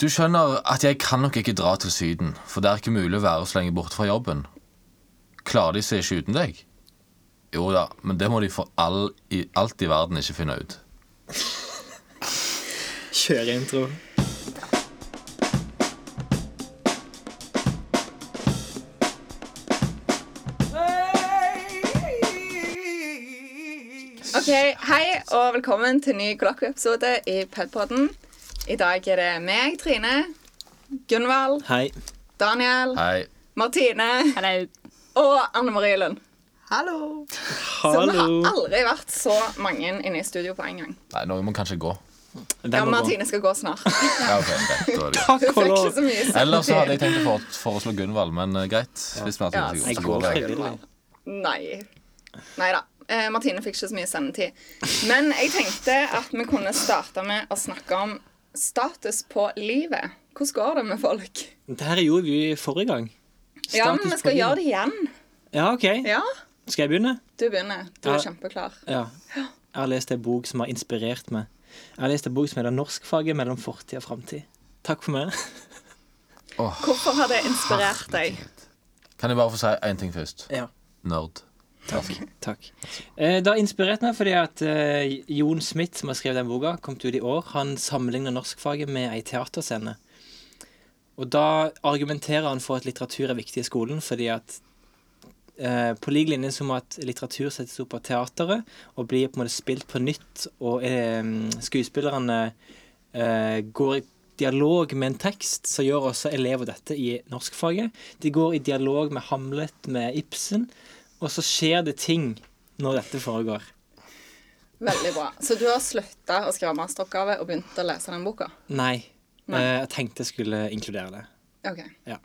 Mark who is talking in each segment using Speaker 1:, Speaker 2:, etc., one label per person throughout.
Speaker 1: Du skjønner at jeg kan nok ikke dra til Syden, for det er ikke mulig å være så lenge borte fra jobben. Klarer de seg ikke uten deg? Jo da, men det må de for all, i, alt i verden ikke finne ut.
Speaker 2: Kjør intro.
Speaker 3: Ok, Hei og velkommen til ny kollokvieepisode i Pubpodden. I dag er det meg, Trine, Gunvald,
Speaker 2: Hei.
Speaker 3: Daniel,
Speaker 1: Hei.
Speaker 3: Martine
Speaker 4: Hallo.
Speaker 3: og Anne Marie Lund.
Speaker 4: Hallo.
Speaker 3: Så vi har
Speaker 2: Hallo.
Speaker 3: aldri vært så mange inne i studio på en gang.
Speaker 1: Nei, noen må kanskje gå.
Speaker 2: Den
Speaker 3: Ja,
Speaker 2: var bra.
Speaker 3: Martine skal gå snart. Hun
Speaker 1: Ja, ok, greit, da er det greit.
Speaker 2: Takk og
Speaker 3: fikk
Speaker 2: lov.
Speaker 3: ikke så mye sagt.
Speaker 1: Ellers så hadde jeg tenkt å fore- foreslå Gunvald, men eh, greit. Hvis vi har
Speaker 3: Ja,
Speaker 1: tenkt å gå,
Speaker 2: Jeg
Speaker 1: så
Speaker 2: går
Speaker 1: går jeg.
Speaker 2: frivillig.
Speaker 3: Nei. Nei da. Eh, Martine fikk ikke så mye sendetid. Men jeg tenkte at vi kunne starte med å snakke om status på livet. Hvordan går det med folk?
Speaker 2: Det her gjorde vi forrige gang.
Speaker 3: Ja, men vi skal gjøre det igjen.
Speaker 2: Ja, OK.
Speaker 3: Ja,
Speaker 2: Skal jeg begynne?
Speaker 3: Du begynner. Du er
Speaker 2: Ja.
Speaker 3: kjempeklar.
Speaker 2: Ja. Jeg har lest en bok som har inspirert meg. Jeg har lest en bok som heter 'Norskfaget mellom fortid og framtid'. Takk for meg.
Speaker 3: Hvorfor har det inspirert deg?
Speaker 1: Kan jeg bare få si én ting først?
Speaker 2: Ja.
Speaker 1: Nerd.
Speaker 2: Takk. Takk. Eh, Det har inspirert meg fordi at eh, Jon Smith, som har skrevet den boka, kom ut i år. Han sammenligner norskfaget med ei teaterscene. Og da argumenterer han for at litteratur er viktig i skolen, fordi at eh, på lik linje som at litteratur settes opp av teateret og blir på en måte spilt på nytt, og eh, skuespillerne eh, går i dialog med en tekst, så gjør også elever dette i norskfaget. De går i dialog med Hamlet, med Ibsen, og så skjer det ting når dette foregår.
Speaker 3: Veldig bra. Så du har slutta å skrive masteroppgave og begynt å lese den boka?
Speaker 2: Nei.
Speaker 3: Nei.
Speaker 2: Eh, Jeg tenkte jeg skulle inkludere det.
Speaker 3: OK.
Speaker 2: Ja.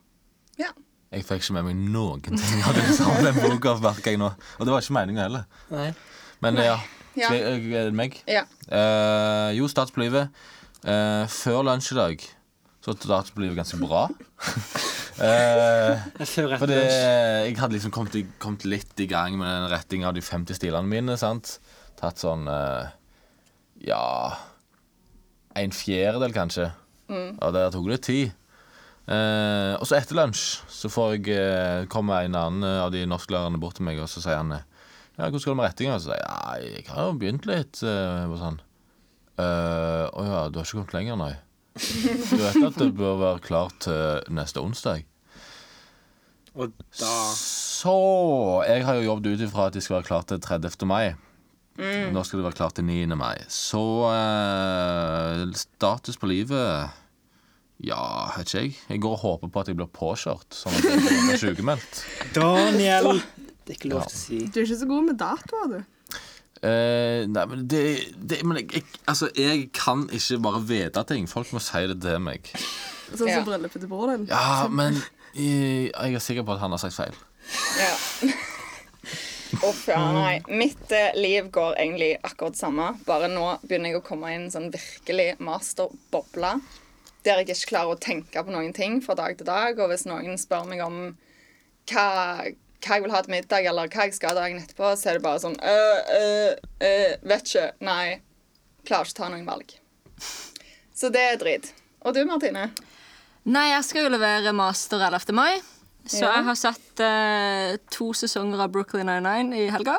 Speaker 3: Ja.
Speaker 1: Jeg fikk ikke med meg noen ting av det samme den boka, merker jeg nå. Og det var ikke meninga heller.
Speaker 2: Nei.
Speaker 1: Men eh, ja.
Speaker 3: Ja.
Speaker 1: Skal jeg, er det meg?
Speaker 3: ja.
Speaker 1: Eh, jo, Start på livet. Eh, før lunsj i dag så var Start på livet ganske bra. Eh,
Speaker 2: Før
Speaker 1: for
Speaker 2: etter
Speaker 1: det,
Speaker 2: lunsj.
Speaker 1: jeg hadde liksom kommet, i- kommet litt i gang med den rettinga av de 50 stilene mine. sant? Tatt sånn eh, Ja En fjerdedel, kanskje. Og der tok det tid. Eh, og så etter lunsj så får jeg eh, kommer en annen av de norsklærerne bort til meg, og så sier han eh, Ja, hvordan går det med rettinga? Og så sier jeg ja, jeg har jo begynt litt. eh, bare sånn. «Eh, Å ja, du har ikke kommet lenger, nei. Du vet at det bør være klart til neste onsdag?
Speaker 2: Og da
Speaker 1: Så Jeg har jo jobbet ut ifra at de skal være klart til 30. mai. Nå skal de være klart til 9. mai. Så eh, status på livet Ja, vet ikke jeg. Jeg går og håper på at jeg blir påkjørt, sånn at jeg ikke blir sykemeldt.
Speaker 2: Daniel! Det er ikke lov til å si.
Speaker 4: Du er ikke så god med datoer, du.
Speaker 1: Eh, nei, men det, det Men jeg, jeg, altså, jeg kan ikke bare vite ting. Folk må si det til meg.
Speaker 4: Sånn som
Speaker 3: Ja.
Speaker 4: bryllupet til broren din.
Speaker 1: Ja, men eh, jeg er sikker på at han har sagt feil.
Speaker 3: ja. Uff, ja, nei. Mitt eh, liv går egentlig akkurat samme. Bare nå begynner jeg å komme inn i en sånn virkelig masterboble. Der jeg ikke klarer å tenke på noen ting fra dag til dag. Og hvis noen spør meg om hva, hva jeg vil ha til middag, eller hva jeg skal dagen etterpå, så er det bare sånn øh, øh, øh, Vet ikke. Nei. Klarer ikke å ta noen valg. Så det er drit. Og du, Martine?
Speaker 5: Nei, jeg skal jo levere master 11. mai. Så
Speaker 3: Ja.
Speaker 5: jeg har sett eh, to sesonger av Brooklyn Nine-Nine i helga.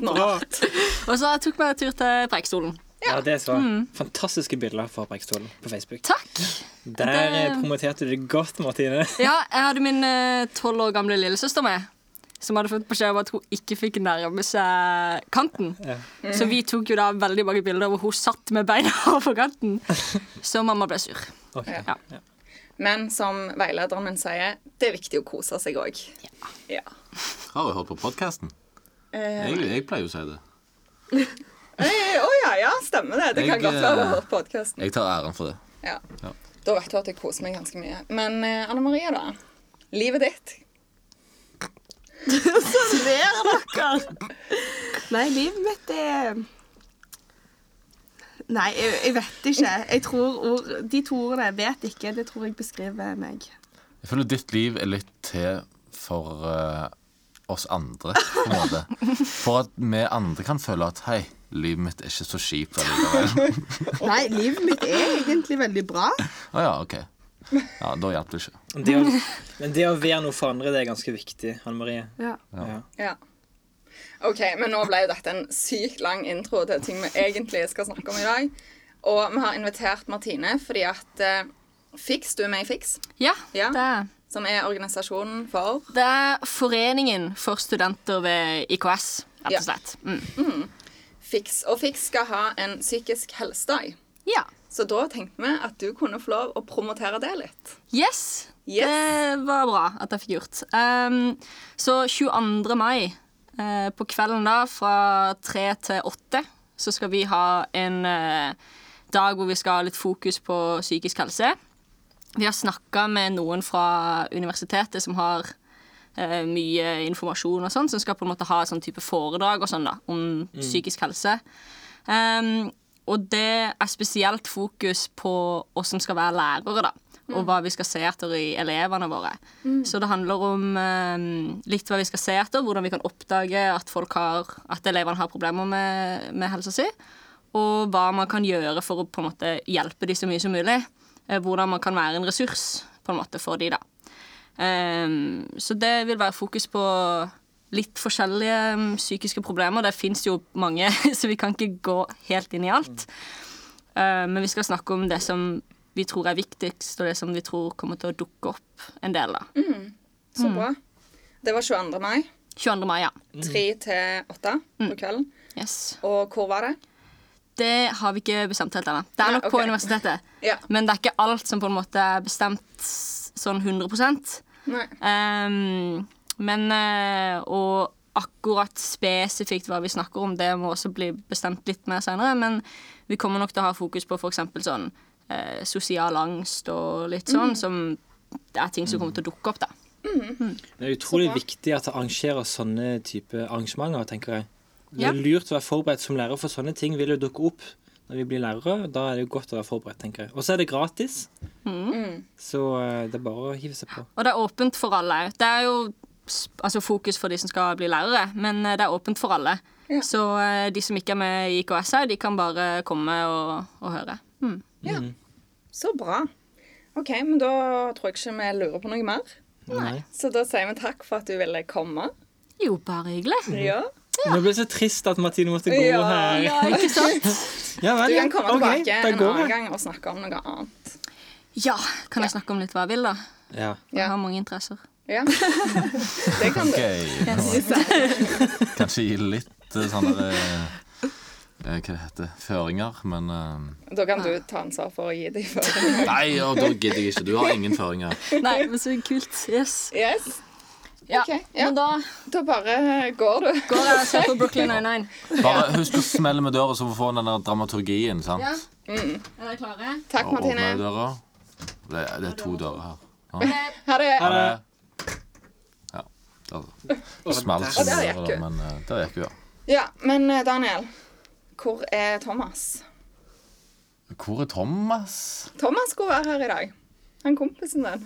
Speaker 3: Smart.
Speaker 5: Og så tok jeg meg en tur til Preikestolen.
Speaker 2: Ja, det er så. Fantastiske bilder fra Preikestolen på Facebook.
Speaker 5: Takk!
Speaker 2: Der eh,
Speaker 5: det-
Speaker 2: promoterte du det godt, Martine.
Speaker 5: Ja, jeg hadde min eh, tolv år gamle lillesøster med. Som hadde fått beskjed om at hun ikke fikk nærme seg kanten.
Speaker 2: Ja.
Speaker 5: Så vi tok jo da veldig mange bilder hvor hun satt med beina over kanten. Så mamma ble sur.
Speaker 2: Ok.
Speaker 5: Ja.
Speaker 3: Men som veilederen min sier, det er viktig å kose seg òg. Ja.
Speaker 1: Har du hørt på podkasten?
Speaker 3: Eh,
Speaker 1: Jeg, jeg pleier jo å si det.
Speaker 3: Å ja, ja, stemmer det. Det kan
Speaker 1: Jeg,
Speaker 3: godt være
Speaker 1: eh,
Speaker 3: over podkasten.
Speaker 1: Jeg tar æren for det.
Speaker 3: Ja.
Speaker 1: Ja.
Speaker 3: Da vet du at jeg koser meg ganske mye. Men eh, Anne Marie, da? Livet ditt?
Speaker 4: Sånn Nei, livet mitt er Nei, jeg, jeg vet ikke. Jeg tror ord, De to ordene 'vet ikke' det tror jeg beskriver meg.
Speaker 1: Jeg føler ditt liv er litt til for eh, oss andre, på en måte. For at vi andre kan føle at hei, Livet mitt er ikke så kjipt allikevel.
Speaker 4: Nei, livet mitt er egentlig veldig bra.
Speaker 1: Å ja, OK. Ja, da hjalp det ikke.
Speaker 2: Det å, men det å være noe for andre, det er ganske viktig, Hanne Marie.
Speaker 4: Ja.
Speaker 2: Ja.
Speaker 3: Ja. OK, men nå ble jo dette en sykt lang intro til ting vi egentlig skal snakke om i dag. Og vi har invitert Martine fordi at eh, Fiks, du er med i Fiks,
Speaker 5: Ja,
Speaker 3: Ja.
Speaker 5: det er
Speaker 3: som er organisasjonen for
Speaker 5: Det er Foreningen for studenter ved IKS, rett og slett. Mm.
Speaker 3: Fiks. Og Fiks skal ha en psykisk helsedag.
Speaker 5: Ja.
Speaker 3: Så da tenkte vi at du kunne få lov å promotere det litt.
Speaker 5: Yes,
Speaker 3: Yes.
Speaker 5: Det var bra at jeg fikk gjort. Um, så 22. mai eh, på kvelden da, fra tre til åtte, så skal vi ha en eh, dag hvor vi skal ha litt fokus på psykisk helse. Vi har snakka med noen fra universitetet som har eh, mye informasjon og sånn, som skal på en måte ha et sånn type foredrag og sånn da, om psykisk helse. Um, og det er spesielt fokus på oss som skal være lærere, da. Og hva vi skal se etter i elevene våre. Så det handler om um, litt hva vi skal se etter, hvordan vi kan oppdage at, folk har, at elevene har problemer med, med helsa si. Og hva man kan gjøre for å på en måte hjelpe dem så mye som mulig. Eh, Hvordan man kan være en ressurs på en måte for dem, da. Um, så det vil være fokus på litt forskjellige um, psykiske problemer. Det fins jo mange, så vi kan ikke gå helt inn i alt. Uh, men vi skal snakke om det som vi tror er viktigst, og det som vi tror kommer til å dukke opp en del.
Speaker 3: Mm.
Speaker 5: da.
Speaker 3: Så bra. Det var 22. mai.
Speaker 5: 22. mai, ja.
Speaker 3: 3
Speaker 2: Mm.
Speaker 3: til 8 på kvelden.
Speaker 5: Yes.
Speaker 3: Og hvor var det?
Speaker 5: Det har vi ikke bestemt helt ennå. Det er
Speaker 3: Nei,
Speaker 5: nok på
Speaker 3: ok.
Speaker 5: universitetet.
Speaker 3: Ja.
Speaker 5: Men det er ikke alt som på en måte er bestemt sånn 100
Speaker 3: Nei.
Speaker 5: Ehm, men eh, Og akkurat spesifikt hva vi snakker om, det må også bli bestemt litt mer senere. Men vi kommer nok til å ha fokus på f.eks. sånn eh, sosial angst og litt sånn, som det er ting som kommer til å dukke opp, da.
Speaker 2: Det er utrolig
Speaker 3: bra.
Speaker 2: viktig at det arrangerer sånne type arrangementer, tenker jeg. Det
Speaker 5: Ja.
Speaker 2: er lurt å være forberedt som lærer, for sånne ting vil jo dukke opp når vi blir lærere. Da er det jo godt å være forberedt, tenker jeg. Og så er det gratis,
Speaker 3: Mm.
Speaker 2: så eh, det er bare å hive seg på.
Speaker 5: Og det er åpent for alle. Det er jo s- altså, fokus for de som skal bli lærere, men eh, det er åpent for alle. Så eh, de som ikke er med i IKS her, de kan bare komme og, og høre. Mm.
Speaker 3: Ja. Så bra. OK, men da tror jeg ikke vi lurer på noe mer.
Speaker 2: Nei.
Speaker 3: Så da sier vi takk for at du ville komme.
Speaker 5: Jo, bare hyggelig.
Speaker 3: Ja.
Speaker 2: Nå ble det så trist at Martine måtte Mm. gå
Speaker 3: Ja,
Speaker 2: her.
Speaker 5: Ja, ikke sant?
Speaker 2: Ja vel,
Speaker 3: Du
Speaker 2: ja.
Speaker 3: kan komme
Speaker 2: Ok,
Speaker 3: tilbake
Speaker 2: da
Speaker 3: en
Speaker 2: går
Speaker 3: annen
Speaker 2: jeg.
Speaker 3: gang og snakke om noe annet.
Speaker 5: Ja, kan jeg snakke om litt hva jeg vil, da?
Speaker 2: Ja.
Speaker 3: Ja.
Speaker 5: Jeg har mange interesser.
Speaker 3: Ja. Det kan du.
Speaker 1: OK. Kanskje gi litt eh, sånne eh, eh, Hva det heter Føringer, men eh,
Speaker 3: Da kan du ta ansvar for å gi dem føringer.
Speaker 1: Nei, ja, da gidder jeg ikke. Du har ingen føringer.
Speaker 5: Nei, men så kult. Yes.
Speaker 3: Yes.
Speaker 5: Ja,
Speaker 3: Ok, ja.
Speaker 5: Men da
Speaker 3: Da bare går du.
Speaker 5: går jeg og ser på Brooklyn Nine-Nine.
Speaker 1: Bare husk å smelle med døra, så vi får den der dramaturgien. sant?
Speaker 5: Ja. Er dere klare?
Speaker 3: Takk,
Speaker 1: Og åpne
Speaker 3: Martine.
Speaker 1: døra. Det, det er to dører her.
Speaker 3: Ha det.
Speaker 2: Ha det.
Speaker 1: Ja. Der smalt som
Speaker 3: der
Speaker 1: døra,
Speaker 3: gikk
Speaker 1: da,
Speaker 3: hun.
Speaker 1: men eh, der gikk hun, ja.
Speaker 3: Ja, men eh, Daniel, hvor er Thomas?
Speaker 1: Hvor er Thomas?
Speaker 3: Thomas skulle være her i dag. Han kompisen din.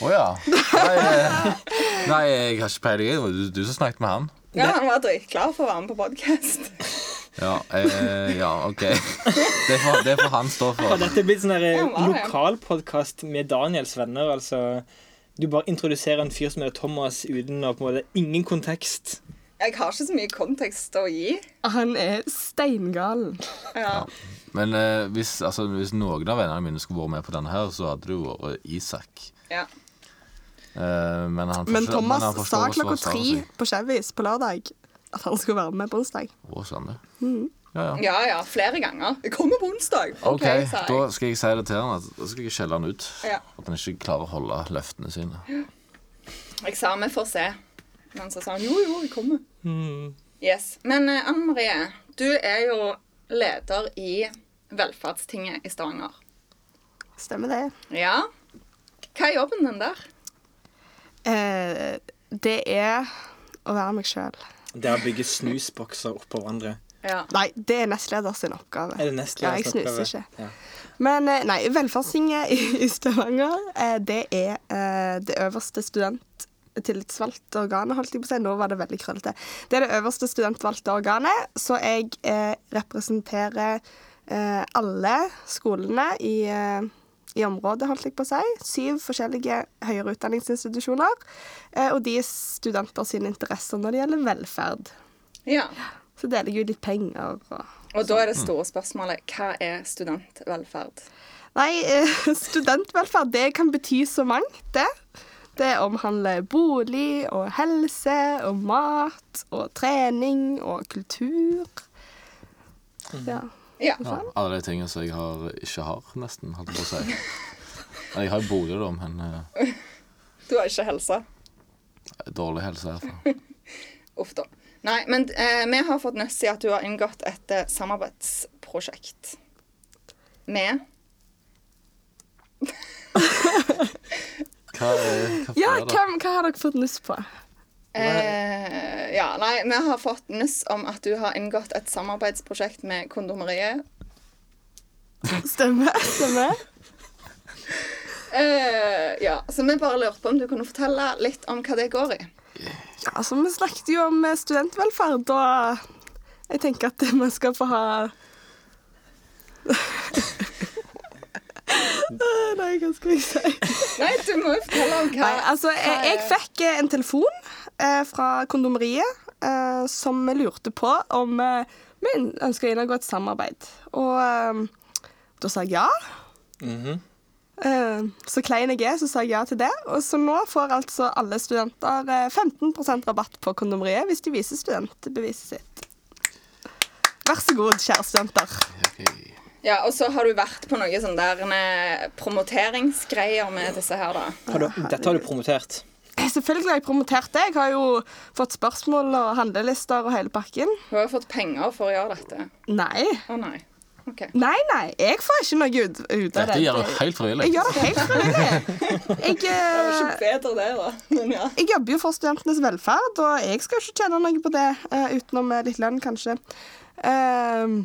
Speaker 1: Å ja. Nei, eh, nei, jeg har ikke peiling. Det var du, du som snakket med han.
Speaker 3: Ja, han var dritklar for å være med på podkast.
Speaker 1: Ja, eh, ja OK. Det får, det får han stå
Speaker 2: Har
Speaker 1: for.
Speaker 2: dette blitt sånn der,
Speaker 3: Ja, hva er det?
Speaker 2: lokalpodkast med Daniels venner? Altså, du bare introduserer en fyr som heter Thomas uten å på en måte ingen kontekst.
Speaker 3: Jeg har ikke så mye kontekst å gi.
Speaker 4: Han er steingalen.
Speaker 3: Ja.
Speaker 1: Men eh, hvis, altså, hvis noen av vennene mine skulle vært med på denne her, så hadde det jo vært Isak.
Speaker 3: Ja.
Speaker 1: Eh, men han får
Speaker 4: Men
Speaker 1: ikke- men
Speaker 4: Thomas
Speaker 1: han får ikke
Speaker 4: sa
Speaker 1: lov å
Speaker 4: klokka
Speaker 1: slå seg av
Speaker 4: tre
Speaker 1: seg.
Speaker 4: på Chevys på lørdag at han skulle være med på onsdag.
Speaker 1: Å, sa han det?
Speaker 4: Mm.
Speaker 1: Ja, ja.
Speaker 3: ja ja, flere ganger. Jeg kommer på onsdag.
Speaker 1: OK,
Speaker 3: sa jeg.
Speaker 1: da skal jeg si det til han at da skal jeg skjelle han ut.
Speaker 3: Ja.
Speaker 1: At han ikke klarer å holde løftene sine.
Speaker 3: Jeg sa vi får se. Men så sa han jo, jo, jeg kommer.
Speaker 1: Hmm.
Speaker 3: Yes. Men eh, Anne Marie, du er jo leder i Velferdstinget i Stavanger.
Speaker 4: Stemmer det.
Speaker 3: Ja. Hva er jobben din der?
Speaker 4: Eh, det er å være meg sjøl.
Speaker 2: Det er å bygge snusbokser oppå hverandre.
Speaker 3: Ja.
Speaker 4: Nei, det er nestleder sin oppgave.
Speaker 2: Er det neste
Speaker 4: Ja, jeg
Speaker 2: jeg snakker
Speaker 4: snuser
Speaker 2: over?
Speaker 4: ikke.
Speaker 2: Ja.
Speaker 4: Men eh, nei, Velferdstinget i, i Stavanger, eh, det er eh, det øverste student... tillitsvalgte organet, holdt jeg på å si. Nå var det veldig krøllete. Det er det øverste studentvalgte organet, så jeg eh, representerer eh, alle skolene i, eh, i området, holdt jeg på å si. Syv forskjellige høyere utdanningsinstitusjoner. Eh, og de er studenter sine interesser når det gjelder velferd.
Speaker 3: Ja.
Speaker 4: Så deler jeg ut litt penger og
Speaker 3: Og da er det store spørsmålet hva er studentvelferd?
Speaker 4: Nei, eh, studentvelferd det kan bety så mangt, det. Det omhandler bolig og helse og mat og trening og kultur. Ja.
Speaker 3: Ja.
Speaker 1: Ja, alle de tingene som jeg har, ikke har, nesten, holdt jeg på å si. Nei, Jeg har jo bolig, da, men eh,
Speaker 3: Du har ikke helse.
Speaker 1: dårlig helse herfra.
Speaker 3: Uff da. Nei, men eh, vi har fått nøss i at du har inngått et eh, samarbeidsprosjekt med
Speaker 1: Hva er hva
Speaker 4: Ja,
Speaker 1: er det?
Speaker 4: hva, hva har dere fått lyst på?
Speaker 3: Eh, ja, nei, vi har fått nyss om at du har inngått et samarbeidsprosjekt med Kondomeriet.
Speaker 4: Stemmer. Stemmer.
Speaker 3: Eh, ja, så vi bare lurte på om du kunne fortelle litt om hva det går i.
Speaker 4: Ja, altså, vi snakket jo om eh, studentvelferd, og jeg tenker at man skal få ha Nei, hva skal jeg si?
Speaker 3: Nei, du må jo fortelle om hva
Speaker 4: Nei, altså, jeg,
Speaker 3: hva
Speaker 4: jeg
Speaker 3: er-
Speaker 4: fikk eh, en telefon eh, fra kondomeriet eh, som lurte på om eh, vi ønska å inngå et samarbeid. Og eh, da sa jeg ja.
Speaker 2: Mhm.
Speaker 4: Eh, så klein jeg er, så sa jeg ja til det. Og så nå får altså alle studenter eh, 15 rabatt på kondomeriet hvis de viser studentbeviset sitt. Vær så god, kjære studenter.
Speaker 1: Ok.
Speaker 3: Ja, og så har du vært på noe sånn der eh, promoteringsgreier med disse her, da.
Speaker 2: Har du, dette har du promotert.
Speaker 4: Eh, Selvfølgelig har jeg promotert det. Jeg har jo fått spørsmål og handlelister og hele pakken.
Speaker 3: Hun har jo fått penger for å gjøre dette.
Speaker 4: Nei.
Speaker 3: Å nei. OK.
Speaker 4: Nei, nei, jeg får ikke noe ut, ut av
Speaker 1: Dette
Speaker 4: det.
Speaker 1: gjør du helt frivillig.
Speaker 4: Jeg gjør det helt frivillig. Jeg,
Speaker 3: Det var ikke
Speaker 4: eh,
Speaker 3: bedre det, da. Men ja.
Speaker 4: jeg jobber jo for studentenes velferd, og jeg skal ikke tjene noe på det, eh, utenom eh, litt lønn, kanskje. Ehm,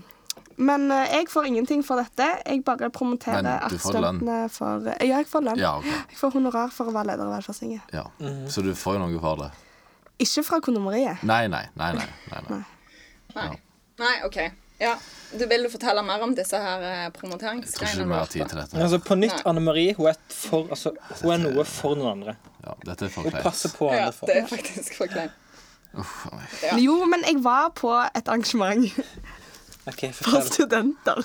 Speaker 4: men eh, jeg får ingenting for dette. Jeg bare promoterer
Speaker 1: Men du
Speaker 4: at
Speaker 1: får lønn.
Speaker 4: studentene får eh, Ja, jeg får lønn.
Speaker 1: Ja, ok.
Speaker 4: Jeg får honorar for å være leder av Velferdstinget.
Speaker 1: Ja.
Speaker 2: Mhm.
Speaker 1: Så du får jo noe for det.
Speaker 4: Ikke fra kondomeriet.
Speaker 1: Nei, nei, nei. nei, nei, nei.
Speaker 3: Nei. Nei, OK. Ja. Du vil fortelle mer om disse her eh,
Speaker 1: Jeg tror ikke
Speaker 3: promoteringsgreiene?
Speaker 1: det er
Speaker 3: du har
Speaker 1: mer
Speaker 3: vært
Speaker 1: tid
Speaker 3: på?
Speaker 1: til dette.
Speaker 2: Altså, på nytt,
Speaker 3: Nei.
Speaker 2: Anne Marie hun er, et for, altså, hun er noe for noen andre.
Speaker 1: Ja, dette er for
Speaker 2: Hun passer
Speaker 1: kleint.
Speaker 2: på andre
Speaker 3: Ja, det
Speaker 2: folk.
Speaker 3: er faktisk for kleint.
Speaker 1: Uff, oi.
Speaker 3: Ja.
Speaker 4: Jo, men jeg var på et arrangement
Speaker 2: Ok,
Speaker 4: for
Speaker 2: fortell.
Speaker 4: studenter.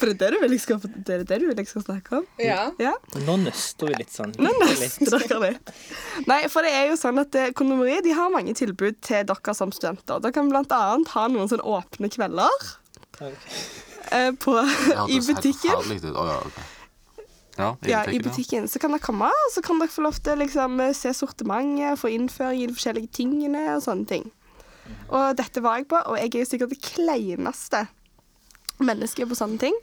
Speaker 4: For det er det du vil jeg skal, det er det du vil jeg skal snakke om?
Speaker 3: Ja.
Speaker 4: Ja.
Speaker 2: Nå nøster vi litt sånn.
Speaker 4: Nå
Speaker 2: Litt.
Speaker 4: nøster dere litt. Nei, for det er jo sånn at eh, Kondomeriet de har mange tilbud til dere som studenter. Dere kan bl.a. ha noen sånne åpne kvelder
Speaker 2: Ok.
Speaker 4: eh, på,
Speaker 1: Det hørtes
Speaker 4: i
Speaker 1: helt
Speaker 4: butikken.
Speaker 1: forferdelig ut. Å, ja, ok. Ja, i
Speaker 4: Ja,
Speaker 1: butikken,
Speaker 4: i
Speaker 1: ja.
Speaker 4: butikken. Så kan dere komme, og så kan dere få lov til å liksom, se sortimentet, få innføring i de forskjellige tingene og sånne ting.
Speaker 1: Mhm.
Speaker 4: Og dette var jeg på, og jeg er jo sikkert det kleineste mennesket på sånne ting.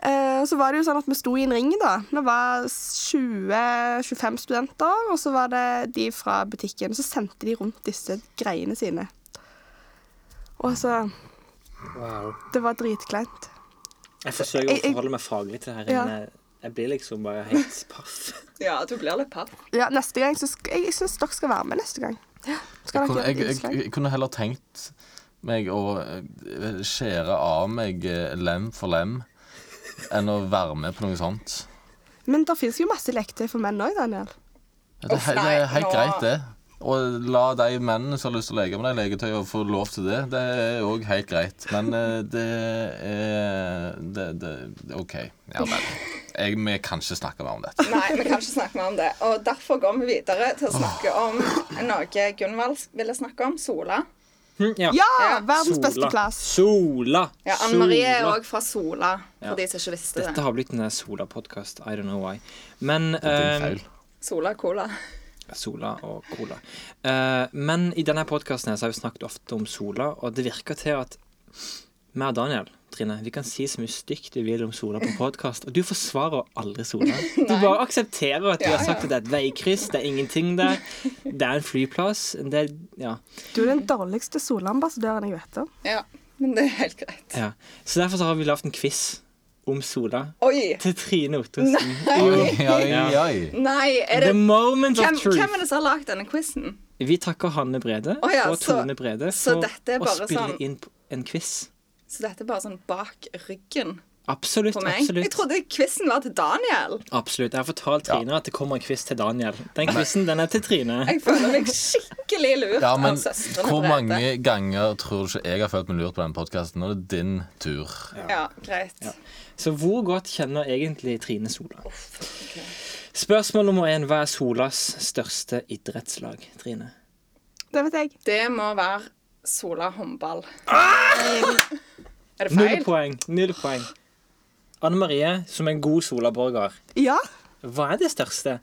Speaker 4: Eh, Så var det jo sånn at vi sto i en ring, da. Det var 20-25 studenter, og så var det de fra butikken. Så sendte de rundt disse greiene sine. Og så
Speaker 2: Wow.
Speaker 4: Det var dritkleint.
Speaker 2: Jeg forsøker å
Speaker 4: Jeg- jeg-
Speaker 2: forholde meg faglig til det her.
Speaker 4: Ja.
Speaker 2: men jeg- Jeg blir liksom bare helt paff.
Speaker 3: ja, du blir litt paff.
Speaker 4: Ja, neste gang, så sk Jeg syns dere skal være med neste gang. Skal
Speaker 1: Jeg kunne,
Speaker 4: dere gjøre
Speaker 1: jeg,
Speaker 4: et
Speaker 1: jeg,
Speaker 4: innslag?
Speaker 1: jeg kunne heller tenkt meg å eh, skjære av meg eh, lem for lem enn å være med på noe sånt.
Speaker 4: Men det finnes jo masse leketøy for menn òg, Daniel.
Speaker 1: Ja, Det, er
Speaker 3: Uff,
Speaker 1: he- det
Speaker 3: nei,
Speaker 1: er helt
Speaker 3: nå-
Speaker 1: greit, det. Og la de mennene som har lyst til å leke med de leketøyene, få lov til det. Det er òg helt greit. Men eh, det er det, det, det- OK. Ja vel. Jeg, vi kan ikke snakke mer om dette.
Speaker 3: Nei, vi kan ikke snakke mer om det. Og derfor går vi videre til å snakke om noe Gunvald ville snakke om, Sola.
Speaker 2: Hm,
Speaker 4: Ja!
Speaker 3: Ja.
Speaker 4: Verdens beste
Speaker 2: Sola.
Speaker 4: plass.
Speaker 2: Sola!
Speaker 3: Ja, Anne Marie er
Speaker 2: Sola.
Speaker 3: òg fra Sola,
Speaker 2: Ja.
Speaker 3: for de som ikke visste
Speaker 2: Dette
Speaker 3: det.
Speaker 2: har blitt en Sola-podkast. I don't know why. Men
Speaker 1: Det er
Speaker 2: eh,
Speaker 1: din feil.
Speaker 3: Sola Cola.
Speaker 2: Sola og cola. Eh, men i denne podkasten har vi snakket ofte om Sola, og det virker til at vi og Daniel Trine, vi kan si så mye stygt vi vil om Sola på podkast, og du forsvarer aldri Sola. Du bare aksepterer at vi
Speaker 3: Ja,
Speaker 2: har sagt at det er et veikryss, det er ingenting der, det er en flyplass det er, ja,
Speaker 4: Du er den dårligste solambassadøren jeg vet om.
Speaker 3: Ja, men det er helt greit.
Speaker 2: ja. Så derfor så har vi lagd en quiz om Sola
Speaker 3: Oi!
Speaker 2: til Trine Ottosen.
Speaker 1: Oi, oi, oi.
Speaker 3: Nei, er det
Speaker 2: The moment of
Speaker 3: hvem, hvem
Speaker 2: truth.
Speaker 3: er det som har lagd denne quizen?
Speaker 2: Vi takker Hanne Brede
Speaker 3: Å ja,
Speaker 2: og
Speaker 3: så-
Speaker 2: Tone Brede
Speaker 3: så
Speaker 2: for
Speaker 3: dette er
Speaker 2: å
Speaker 3: bare
Speaker 2: spille
Speaker 3: sånn-
Speaker 2: inn en quiz.
Speaker 3: Så dette er bare sånn bak ryggen
Speaker 2: Absolutt.
Speaker 3: på meg. Jeg
Speaker 2: absolutt.
Speaker 3: trodde quizen var til Daniel.
Speaker 2: Absolutt. Jeg har fortalt Trine at det kommer en quiz til Daniel. Den quizen den er til Trine.
Speaker 3: Jeg føler meg skikkelig lurt
Speaker 1: Ja, men
Speaker 3: av søstrene
Speaker 1: hvor
Speaker 3: Brede.
Speaker 1: mange ganger tror du ikke jeg har følt meg lurt på denne podkasten? Nå er det din tur.
Speaker 3: Ja, greit.
Speaker 2: Så hvor godt kjenner egentlig Trine Sola? Spørsmål nummer én. Hva er Solas største idrettslag, Trine?
Speaker 4: Det vet jeg.
Speaker 3: Det må være Sola håndball. Ah! Er det
Speaker 2: Null
Speaker 3: feil?
Speaker 2: poeng. Null poeng. Anne Marie, som en god Sola-borger,
Speaker 4: Ja.
Speaker 2: hva er det største?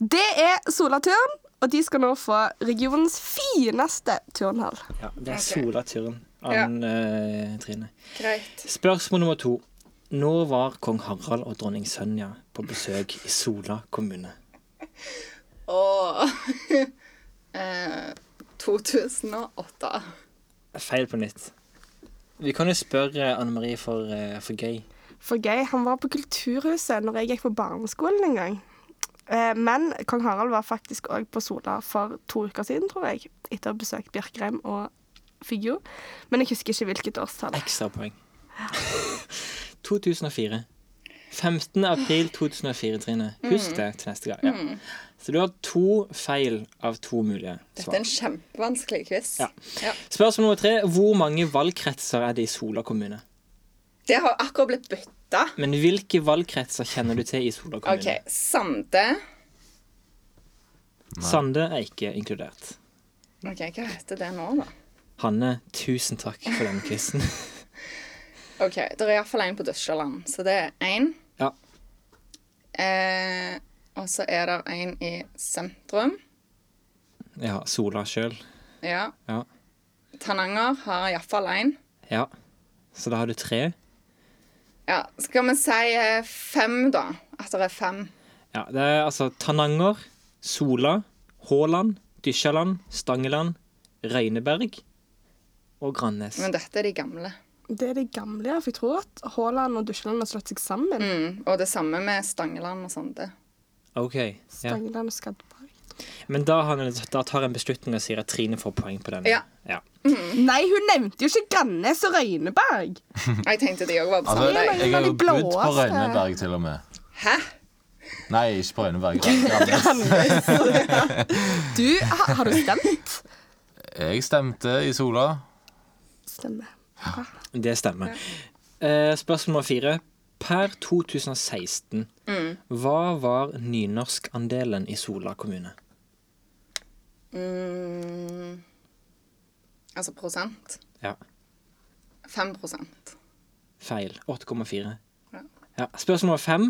Speaker 4: Det er Solaturn, og de skal nå få regionens fineste turnhall.
Speaker 2: Ja, det er Sola-turen. Anne eh, Trine.
Speaker 3: Greit.
Speaker 2: Spørsmål nummer to. Når var kong Harald og dronning Sonja på besøk i Sola kommune?
Speaker 3: Og eh, 2008.
Speaker 2: Feil på nytt. Vi kan jo spørre Anne Marie for, eh, for gøy.
Speaker 4: For gøy, han var på Kulturhuset når jeg gikk på barneskolen en gang. Eh, Men kong Harald var faktisk òg på Sola for to uker siden, tror jeg. Etter å ha besøkt Bjerkreim og Figgjo. Men jeg husker ikke hvilket årstall.
Speaker 2: Ekstrapoeng. 2004. 15. april 2004, Trine. Husk
Speaker 3: Mm.
Speaker 2: det til neste gang. Ja. Så du har to feil av to mulige
Speaker 3: Dette
Speaker 2: svar.
Speaker 3: er en kjempevanskelig quiz.
Speaker 2: Ja. Spørsmål nummer tre. Hvor mange valgkretser er det i Sola kommune?
Speaker 3: Det har akkurat blitt bytta.
Speaker 2: Men hvilke valgkretser kjenner du til i Sola kommune?
Speaker 3: OK. Sande.
Speaker 2: Sande er ikke inkludert.
Speaker 3: Ok, Hva heter det nå, da?
Speaker 2: Hanne, tusen takk for denne quizen.
Speaker 3: OK, Det er iallfall én på Dusjaland, så det er én.
Speaker 2: Ja.
Speaker 3: Eh, og så er det én i sentrum.
Speaker 2: ja, Sola sjøl.
Speaker 3: Ja.
Speaker 2: Ja.
Speaker 3: Tananger har iallfall én.
Speaker 2: Ja. Så da har du tre.
Speaker 3: Ja, skal vi si eh, fem, da? At det er fem.
Speaker 2: Ja, det er altså Tananger, Sola, Haaland, Dysjaland, Stangeland, Røyneberg og Grannes.
Speaker 3: Men dette er de gamle.
Speaker 4: Det er de gamle, ja, for jeg tror at Haaland og Dusjeland har slått seg sammen.
Speaker 3: Mm. Og det samme med Stangeland og sånt. det.
Speaker 2: OK. Ja.
Speaker 4: Stangeland og Skadberg.
Speaker 2: Men da, har han, da tar han beslutning og sier at Trine får poeng på denne.
Speaker 3: Ja.
Speaker 4: Mm. Nei, hun nevnte jo ikke Grannes og Røyneberg!
Speaker 3: Jeg tenkte de òg var på
Speaker 1: Altså,
Speaker 3: samme
Speaker 4: Det er
Speaker 3: dag.
Speaker 4: mange
Speaker 1: jeg har jo
Speaker 4: av de
Speaker 1: bodd på
Speaker 4: blåeste.
Speaker 1: Rønneberg, til og med.
Speaker 3: Hæ?
Speaker 1: Nei, ikke på Rønneberg. Grannes.
Speaker 4: Du, ha, har du stemt?
Speaker 1: Jeg stemte i Sola.
Speaker 4: Stemmer.
Speaker 2: Det stemmer. Eh, spørsmål nummer fire. Per 2016,
Speaker 3: Mm.
Speaker 2: hva var nynorskandelen i Sola kommune?
Speaker 3: Mm. Altså prosent.
Speaker 2: Ja.
Speaker 3: Fem prosent.
Speaker 2: Feil. 8,4.
Speaker 3: Ja.
Speaker 2: Ja. Spørsmål nummer fem.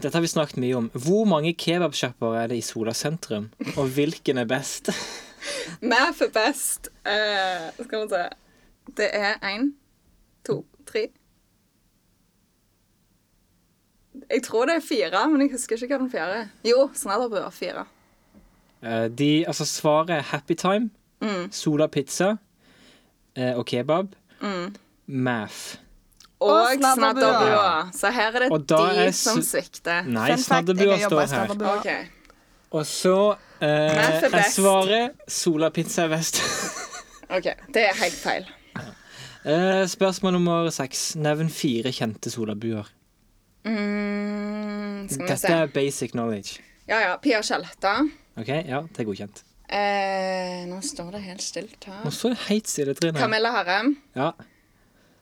Speaker 2: Dette har vi snakket mye om. Hvor mange kebabsjapper er det i Sola sentrum, og hvilken er best?
Speaker 3: Math er best. Eh, skal vi se. Det er én, to, tre Jeg tror det er fire, men jeg husker ikke hva den fjerde er. Jo, Snadderbu er fire.
Speaker 2: Eh, De, altså svaret er Happy Time,
Speaker 3: Mm.
Speaker 2: Sola Pizza eh, og kebab.
Speaker 3: Mm.
Speaker 2: Math.
Speaker 3: Og
Speaker 4: Snadderbua.
Speaker 3: Snadderbua. Så her er det
Speaker 2: Og da
Speaker 3: de
Speaker 2: er s-
Speaker 3: som svikter.
Speaker 2: Nei,
Speaker 4: Fun fact, jeg
Speaker 2: snaddebua
Speaker 4: har jobbet i
Speaker 2: står her.
Speaker 4: Snadderbua.
Speaker 3: OK.
Speaker 2: Og så eh,
Speaker 3: Math er
Speaker 2: er
Speaker 3: best.
Speaker 2: svaret Sola Pizza er best.
Speaker 3: ok, Det er helt feil.
Speaker 2: Eh, spørsmål nummer seks. Nevn fire kjente solabuer.
Speaker 3: Mm, skal vi
Speaker 2: Dette
Speaker 3: se.
Speaker 2: er basic knowledge.
Speaker 3: Ja, ja. Pia Skjelta.
Speaker 2: OK, ja, det er godkjent.
Speaker 3: Eh, nå står det helt stilt her.
Speaker 2: Og så er det heit stille, Trine.
Speaker 3: Camilla Harem.
Speaker 2: Ja.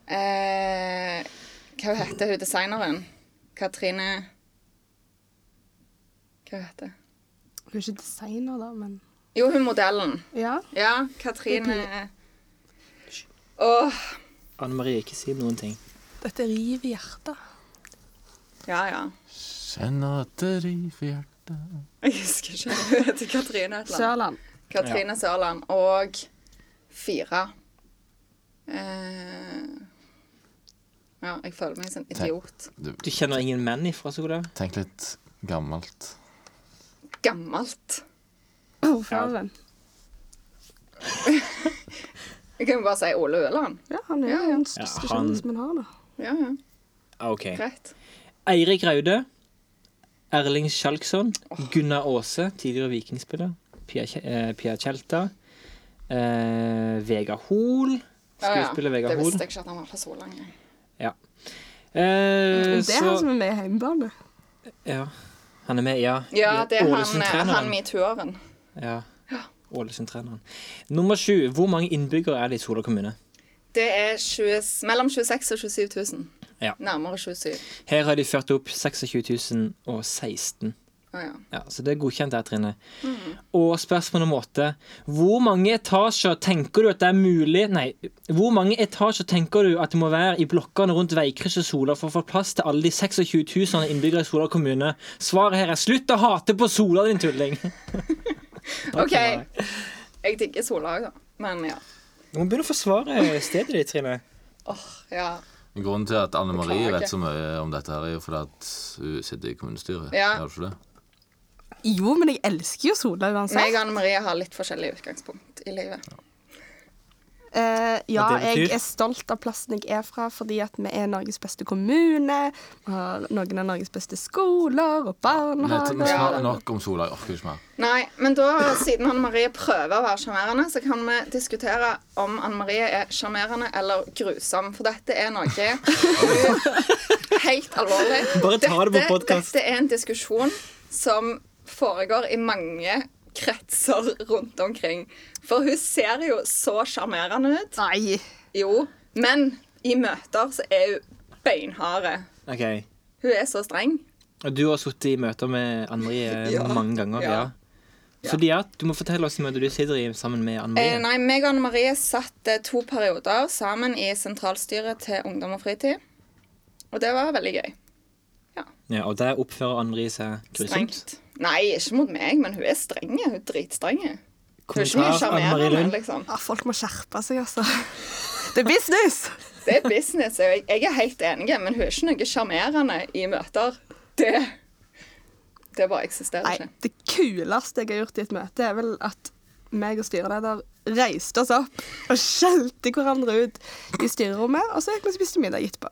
Speaker 3: Eh, hva heter hun designeren? Katrine Hva heter hun?
Speaker 4: Hun er ikke designer, da, men
Speaker 3: Jo, hun modellen.
Speaker 4: Ja.
Speaker 3: Ja, Katrine Åh,
Speaker 2: Anne Marie, ikke si noen ting.
Speaker 4: Dette river i hjertet.
Speaker 3: ja, ja.
Speaker 1: Kjenner at det river i hjertet
Speaker 3: Jeg husker ikke. Hun heter Katrine et eller annet.
Speaker 4: Sørland.
Speaker 3: Katrine Sørland. Og fire. Eh, ja, jeg føler meg som en idiot.
Speaker 2: Du kjenner ingen menn ifra Sola?
Speaker 1: Tenk litt gammelt.
Speaker 3: Gammelt.
Speaker 4: Ordføreren.
Speaker 3: Jeg kan jo bare si Ole Øland.
Speaker 4: Ja, han er
Speaker 3: Ja, ja.
Speaker 4: den største
Speaker 2: Ja, han-
Speaker 4: kjendisen vi har, da.
Speaker 3: Ja, ja.
Speaker 2: Ah, OK.
Speaker 3: Greit.
Speaker 2: Eirik Raude, Erling Skjalgsson, Gunnar Aase, tidligere vikingspiller, Pia, Kje- eh, Pia Tjelta, eh, Vegard Hoel, skuespiller
Speaker 3: Å, Ah, ja.
Speaker 2: Vegard
Speaker 3: Det
Speaker 2: Hoel.
Speaker 3: visste jeg ikke at han var fra Solang. jeg. Mm,
Speaker 2: Eh,
Speaker 4: Det er han
Speaker 2: så
Speaker 4: som er med i Heimebane.
Speaker 2: ja, Han er med, ja.
Speaker 3: Ja, det er han, eh,
Speaker 2: Ålesund-treneren.
Speaker 3: han metoo-en.
Speaker 2: Ja. Ålesund-treneren. Nummer sju. Hvor mange innbyggere er det i Sola kommune?
Speaker 3: Det er 20, mellom 26 og 27 000.
Speaker 2: Ja.
Speaker 3: Nærmere 27.
Speaker 2: Her har de ført opp 26 016.
Speaker 3: Å, ja.
Speaker 2: Ja, så det er godkjent der, Trine.
Speaker 3: Mm.
Speaker 2: Og spørsmål nummer åtte. Hvor mange etasjer tenker du at det er mulig Nei, hvor mange etasjer tenker du at det må være i blokkene rundt veikrysset Sola for å få plass til alle de 26 000 innbyggere i Sola kommune? Svaret her er slutt å hate på Sola, din tulling!
Speaker 3: OK. Jeg digger Sola òg, da. Men ja.
Speaker 2: Du må begynne å forsvare stedet ditt, Trine.
Speaker 3: ja.
Speaker 2: Sånn.
Speaker 1: Grunnen til at Anne Marie
Speaker 3: Beklager.
Speaker 1: vet så mye om dette, her er jo fordi at hun sitter i kommunestyret.
Speaker 3: Ja.
Speaker 1: Gjør du ikke det?
Speaker 4: Jo, men jeg elsker jo Sola uansett.
Speaker 3: Meg og Anne Marie har litt forskjellig utgangspunkt i livet.
Speaker 4: Eh, ja,
Speaker 2: Og det betyr?
Speaker 4: jeg er stolt av plassen jeg er fra, fordi at vi er Norges beste kommune. Vi har noen av Norges beste skoler og
Speaker 1: Nei,
Speaker 4: barnehager.
Speaker 1: men snart nok om Sola. Jeg orker ikke mer.
Speaker 3: Nei, men da, siden Anne Marie prøver å være sjarmerende, så kan vi diskutere om Anne Marie er sjarmerende eller grusom. For dette er noe helt alvorlig.
Speaker 2: Bare ta det på
Speaker 3: Dette-
Speaker 2: podcast.
Speaker 3: Dette er en diskusjon som foregår i mange kretser rundt omkring. For hun ser jo så sjarmerende ut.
Speaker 4: Nei.
Speaker 3: Jo, men i møter så er hun beinharde.
Speaker 2: Ok,
Speaker 3: Hun er så streng.
Speaker 2: Og du har sittet i møter med Anne-Marie
Speaker 3: Ja.
Speaker 2: mange ganger.
Speaker 3: Ja.
Speaker 2: ja. Fordi at, Du må fortelle oss møtet du sitter i sammen med
Speaker 3: Eh,
Speaker 2: Anne-Marie.
Speaker 3: nei, meg og Anne Marie satt eh, to perioder sammen i sentralstyret til Ungdom og fritid. Og det var veldig gøy.
Speaker 2: Ja, og der oppfører Anne-Marie seg grusomt.
Speaker 3: Strengt. Nei, ikke mot meg, men hun er streng. Hun er dritstreng. Hun er ikke mye
Speaker 2: Kommentar Anne-Marie
Speaker 3: sjarmerende,
Speaker 2: Lund.
Speaker 3: liksom.
Speaker 4: Ja, folk må skjerpe seg, altså. Det er business!
Speaker 3: Det er business. og Jeg, jeg er helt enig, men hun er ikke noe sjarmerende i møter. Det Det bare eksisterer
Speaker 4: Nei,
Speaker 3: ikke.
Speaker 4: det kuleste jeg har gjort i et møte, er vel at meg og styreleder reiste oss opp og skjelte hverandre ut i styrerommet, og så gikk vi og spiste middag etterpå.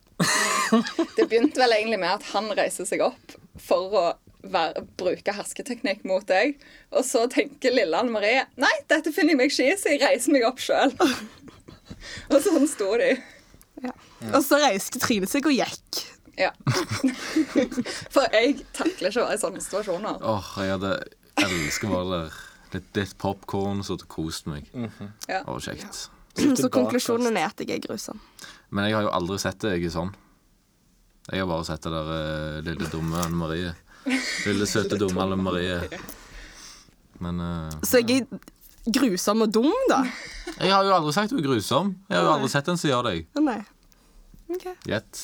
Speaker 3: Det begynte vel egentlig med at han reiser seg opp for å være, bruke hersketeknikk mot deg. Og så tenker lille Anne Marie Nei, dette finner jeg meg ikke i, så jeg reiser meg opp sjøl. og sånn sto de.
Speaker 4: Og så reiste Trine seg og gikk.
Speaker 3: Ja. for jeg takler ikke å være i sånne situasjoner.
Speaker 1: Åh, jeg hadde elsker å være der. Litt, litt popkorn, så hadde jeg kost meg. Det
Speaker 3: Ja.
Speaker 1: var kjekt.
Speaker 4: Så konklusjonen er at jeg er grusom.
Speaker 1: Men jeg har jo aldri sett det, jeg er sånn. Jeg har bare sett det der eh, lille dumme Anne Marie. Lille søte dumme Anne Marie. Men eh,
Speaker 4: Så jeg er grusom og dum, da?
Speaker 1: jeg har jo aldri sagt du er grusom. Jeg har jo aldri sett en som gjør deg.
Speaker 4: Å, Nei. OK.
Speaker 1: Gjett.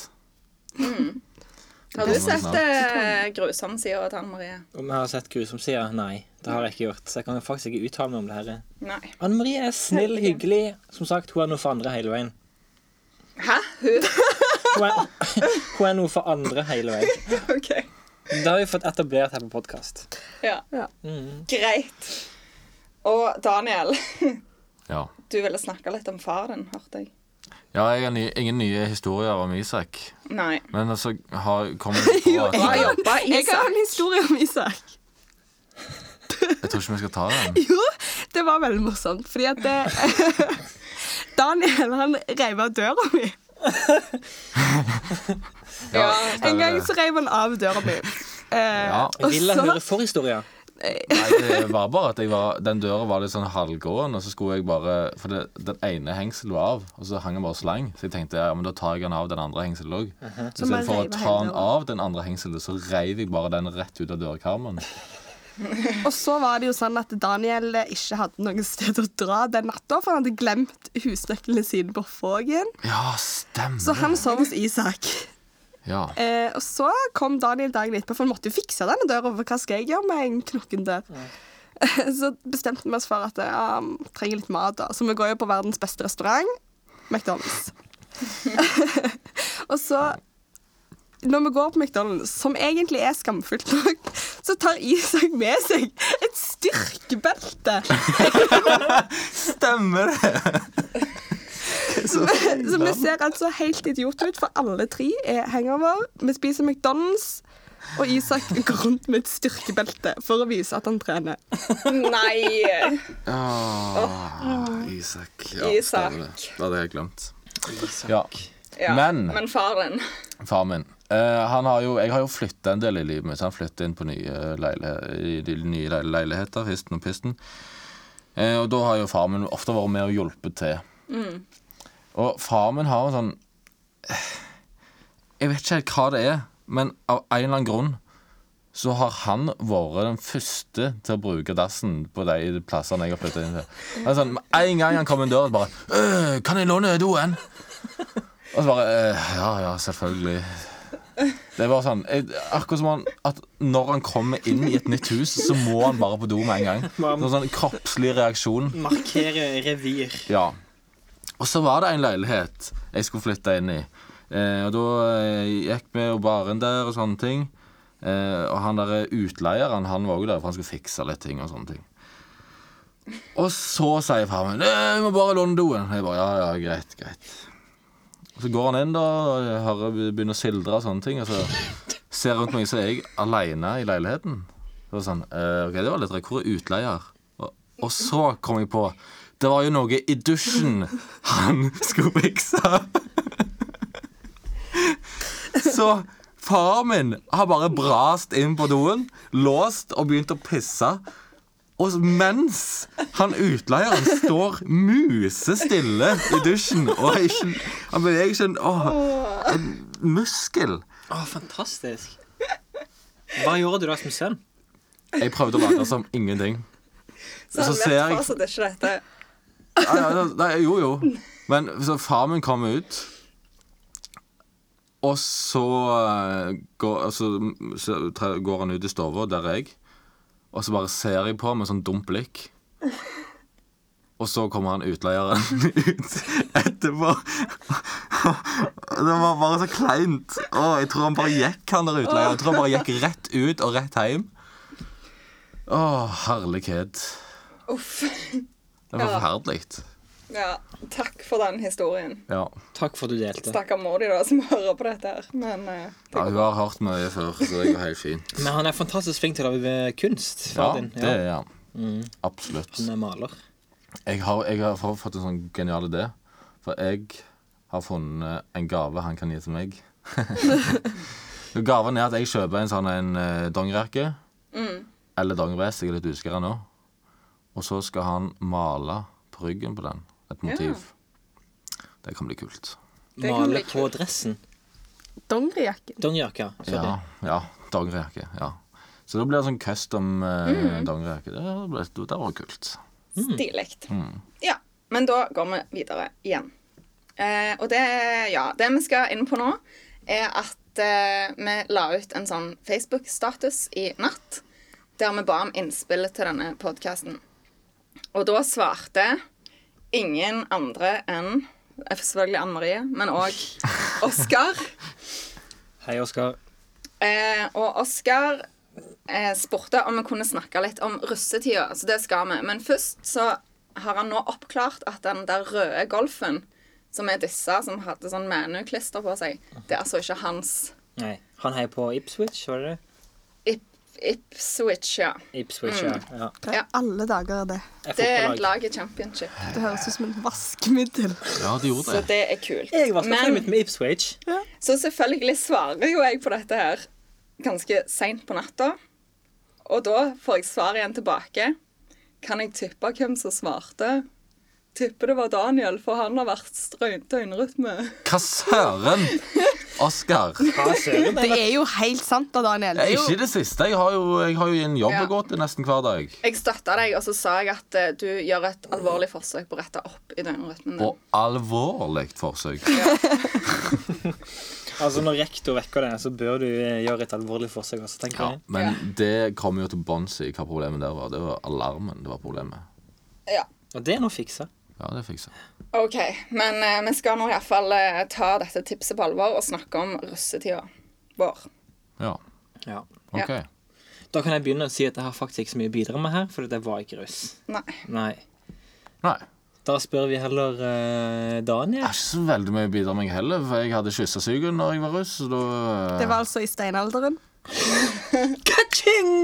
Speaker 3: Har du sett eh, grusom sida til Anne Marie?
Speaker 2: Om jeg har sett grusom sida? Nei, det har jeg ikke gjort. Så jeg kan faktisk ikke uttale meg om det her.
Speaker 3: Nei.
Speaker 2: Anne Marie er snill, hyggelig. Som sagt, hun er noe for andre hele veien.
Speaker 3: Hæ? Hun?
Speaker 2: Hun er, hun er noe for andre hele veien.
Speaker 3: OK.
Speaker 2: Det har vi fått etablert her på podkast.
Speaker 3: Ja.
Speaker 4: Ja.
Speaker 3: Greit. Og Daniel,
Speaker 1: Ja.
Speaker 3: du ville snakke litt om faren din, hørte jeg.
Speaker 1: ja, jeg har ny, ingen nye historier om Isak.
Speaker 3: Nei.
Speaker 1: Men altså har, kommer jeg på at
Speaker 3: Bra
Speaker 1: jeg,
Speaker 3: jobba,
Speaker 4: Altså, Jeg har
Speaker 3: Isak.
Speaker 4: en historie om Isak.
Speaker 1: tror ikke vi skal ta den.
Speaker 4: Jo, det var veldig morsomt, fordi at det, Daniel, han reiv av døra mi.
Speaker 1: Ja,
Speaker 4: En gang så reiv han av døra mi. Eh,
Speaker 1: Ja.
Speaker 4: og
Speaker 2: Vil jeg
Speaker 4: så-
Speaker 2: høre forhistoria?
Speaker 1: Nei, det var bare at jeg var, den døra var litt sånn halvgåen, og så skulle jeg bare For det, den ene hengselen var av, og så hang den bare slang. Så jeg tenkte ja, men da tar jeg den av den andre hengselen òg.
Speaker 3: Mhm.
Speaker 1: Så
Speaker 4: Så man
Speaker 1: istedenfor å
Speaker 4: reiv
Speaker 1: ta den
Speaker 4: hele
Speaker 1: av den andre hengselen, så reiv jeg bare den rett ut av dørkarmen.
Speaker 4: Og så var det jo sånn at Daniel ikke hadde noe sted å dra den natta, for han hadde glemt husnøklene sine på Fågen.
Speaker 1: Ja, stemmer.
Speaker 4: Så han sov hos Isak.
Speaker 1: Ja.
Speaker 4: Eh, og så kom Daniel dagen etterpå, for han måtte jo fikse denne døra. For hva skal jeg gjøre med en knokken dør? Så bestemte vi oss for at ja, vi trenger litt mat, da. Så vi går jo på verdens beste restaurant, McDonald's. og så når vi går på McDonald's, som egentlig er skamfullt nok, så tar Isak med seg et styrkebelte.
Speaker 1: Stemmer det!
Speaker 4: Så, vi- så vi ser altså helt idiot ut, for alle tre er hangover. Vi spiser McDonald's, og Isak går rundt med et styrkebelte for å vise at han trener.
Speaker 3: Nei!
Speaker 1: Ah, Isak. Ja,
Speaker 3: Isak.
Speaker 1: stemmer det. Det hadde jeg glemt.
Speaker 2: Isak.
Speaker 1: Ja.
Speaker 3: Ja.
Speaker 1: Men-
Speaker 3: Men faren
Speaker 1: Far min. eh, han har jo, jeg har jo flytta en del i livet mitt. Han flytta inn på nye eh, leile, i de nye leile- leiligheter, histen og pisten. Eh, og da har jo far min ofte vært med og hjulpet til. Og far min har en sånn Jeg vet ikke helt hva det er, men av en eller annen grunn så har han vært den første til å bruke dassen på de plassene jeg har flytta inn til. Han er sånn, med en gang han kom inn døren, bare «Øh, 'Kan jeg låne doen?' Og så bare «Eh, Ja, ja, selvfølgelig. Det var sånn jeg, Akkurat som han at når han kommer inn i et nytt hus, så må han bare på do med en gang. Sånn, sånn kroppslig reaksjon.
Speaker 2: Markere revir.
Speaker 1: Ja. Og så var det en leilighet jeg skulle flytte inn i. Eh, og da eh, gikk vi jo bare inn der og sånne ting. Eh, og han der utleieren han var jo der for han skulle fikse litt ting og sånne ting. Og så sier far min «Nei, 'Vi må bare låne doen'. Jeg bare 'Ja, ja, greit, greit'. Og så går han inn da og jeg hører, begynner å sildre og sånne ting. Og så ser jeg rundt meg, så er jeg aleine i leiligheten. Det var sånn, eh, ok, det var litt rart. Hvor er utleier? Og, og så kom jeg på Det var jo noe i dusjen han skulle fikse. Så faren min har bare brast inn på doen, låst og begynt å pisse. Og s- mens han utleieren står musestille i dusjen og er ikke, han beveger ikke en, åh, en muskel.
Speaker 2: Å, fantastisk. Hva gjorde du da som sønn?
Speaker 1: Jeg prøvde å late som ingenting.
Speaker 3: Så han
Speaker 1: Så ser jeg-
Speaker 3: vet Sånn, fortsatt ikke dette.
Speaker 1: Nei, nei, nei, jo, jo. Men så far min kom ut. Og så, eh, går, altså, så tre- går han ut i stua, der er jeg. Og så bare ser jeg på ham med sånn dumt blikk. Og så kommer han utleieren ut etterpå. Det var bare så kleint. Å, jeg tror han bare gikk, han der utleieren. Jeg tror han bare gikk rett ut og rett hjem. Å, herlighet.
Speaker 3: Uff.
Speaker 1: Det var forferdelig.
Speaker 3: Ja, takk for den historien.
Speaker 1: Ja.
Speaker 2: Takk for at du delte.
Speaker 3: Stakkar Maudi, da, som hører på dette her. Men eh,
Speaker 1: Ja, hun har hørt mye før, så det går helt fint.
Speaker 2: Men han er fantastisk flink til å lage kunst.
Speaker 1: Ja,
Speaker 2: far din.
Speaker 1: det er han. Absolutt.
Speaker 2: Han er maler.
Speaker 1: Jeg har, jeg har fa- fått en sånn genial idé. For jeg har funnet en gave han kan gi til meg. Og Gaven er at jeg kjøper en sånn en eh, dongerijakke. Eller dongerivest, jeg er litt usikker nå. Og så skal han male på ryggen på den. Et motiv. Det kan bli kult.
Speaker 3: Det kan bli
Speaker 2: Male på dressen.
Speaker 4: Dongerijakken.
Speaker 2: Dongerijakke.
Speaker 1: Ja,
Speaker 2: sorry.
Speaker 1: ja dongerijakke. Ja. Så da blir det sånn custom eh, dongerijakke. Det, ble- det var kult.
Speaker 3: stilig. Ja. Men da går vi videre igjen. Eh, og det, ja, det vi skal inn på nå, er at eh, vi la ut en sånn Facebook-status i natt der vi ba om innspill til denne podkasten. Og da svarte ingen andre enn eh, selvfølgelig Anne Marie, men òg Oskar.
Speaker 2: Hei, Oskar.
Speaker 3: Eh, og Oskar eh, spurte om vi kunne snakke litt om russetida, så det skal vi. Men først så har han nå oppklart at den der røde Golfen, som er disse som hadde sånn Manu-klister på seg, det er altså ikke hans
Speaker 2: Nei. Han heier på Ipswich, var det det?
Speaker 3: Ip Ipswich, ja.
Speaker 2: Ipswich, ja. Mm. ja.
Speaker 4: Hva
Speaker 3: Ja.
Speaker 4: i alle dager er det?
Speaker 2: Jeg
Speaker 3: Det er et
Speaker 2: fotballag.
Speaker 3: lag i championship,
Speaker 4: Det høres ut som en vaskemiddel.
Speaker 1: Ja, det gjorde
Speaker 3: så
Speaker 1: det.
Speaker 3: det er kult.
Speaker 2: Jeg var
Speaker 3: Men-
Speaker 2: skrevet med Ipswich.
Speaker 3: Så selvfølgelig svarer jo jeg på dette her ganske seint på natta. Og da får jeg svar igjen tilbake. Kan jeg tippe hvem som svarte? Tipper det var Daniel, for han har vært strø- døgnrytme.
Speaker 1: Hva søren? Oskar. Det
Speaker 2: Hva søren?
Speaker 4: Det er jo helt sant da, Daniel. Det
Speaker 1: er
Speaker 4: er jo-
Speaker 1: ikke det siste. Jeg har jo, jeg har jo en jobb
Speaker 3: Ja.
Speaker 1: å gå til nesten hver dag.
Speaker 3: Jeg støtta deg, og så sa jeg at eh, du gjør et alvorlig forsøk på å rette opp i døgnrytmen din.
Speaker 1: Og alvorlig forsøk.
Speaker 2: Altså, når rektor vekker deg, så bør du eh, gjøre et alvorlig forsøk også, tenker
Speaker 1: Ja,
Speaker 2: jeg.
Speaker 1: men det kom jo til bunns i hva problemet der var. Det var alarmen det var problemet.
Speaker 3: Ja.
Speaker 2: Og det er noe å fikse.
Speaker 1: Ja, det fiksa jeg.
Speaker 3: OK, men eh, vi skal nå iallfall uh, ta dette tipset på alvor og snakke om russetida vår.
Speaker 1: Ja,
Speaker 2: Ja.
Speaker 1: OK.
Speaker 2: Da kan jeg begynne å si at jeg har faktisk ikke så mye å bidra med her, for jeg var ikke russ.
Speaker 3: Nei.
Speaker 2: Nei.
Speaker 1: Nei.
Speaker 2: Da spør vi heller eh,
Speaker 1: Jeg
Speaker 2: Daniel.
Speaker 1: har ikke så veldig mye å bidra med, jeg heller. For jeg hadde kyssesugen når jeg var russ. Så da
Speaker 4: Det var altså i steinalderen.
Speaker 2: Kaching!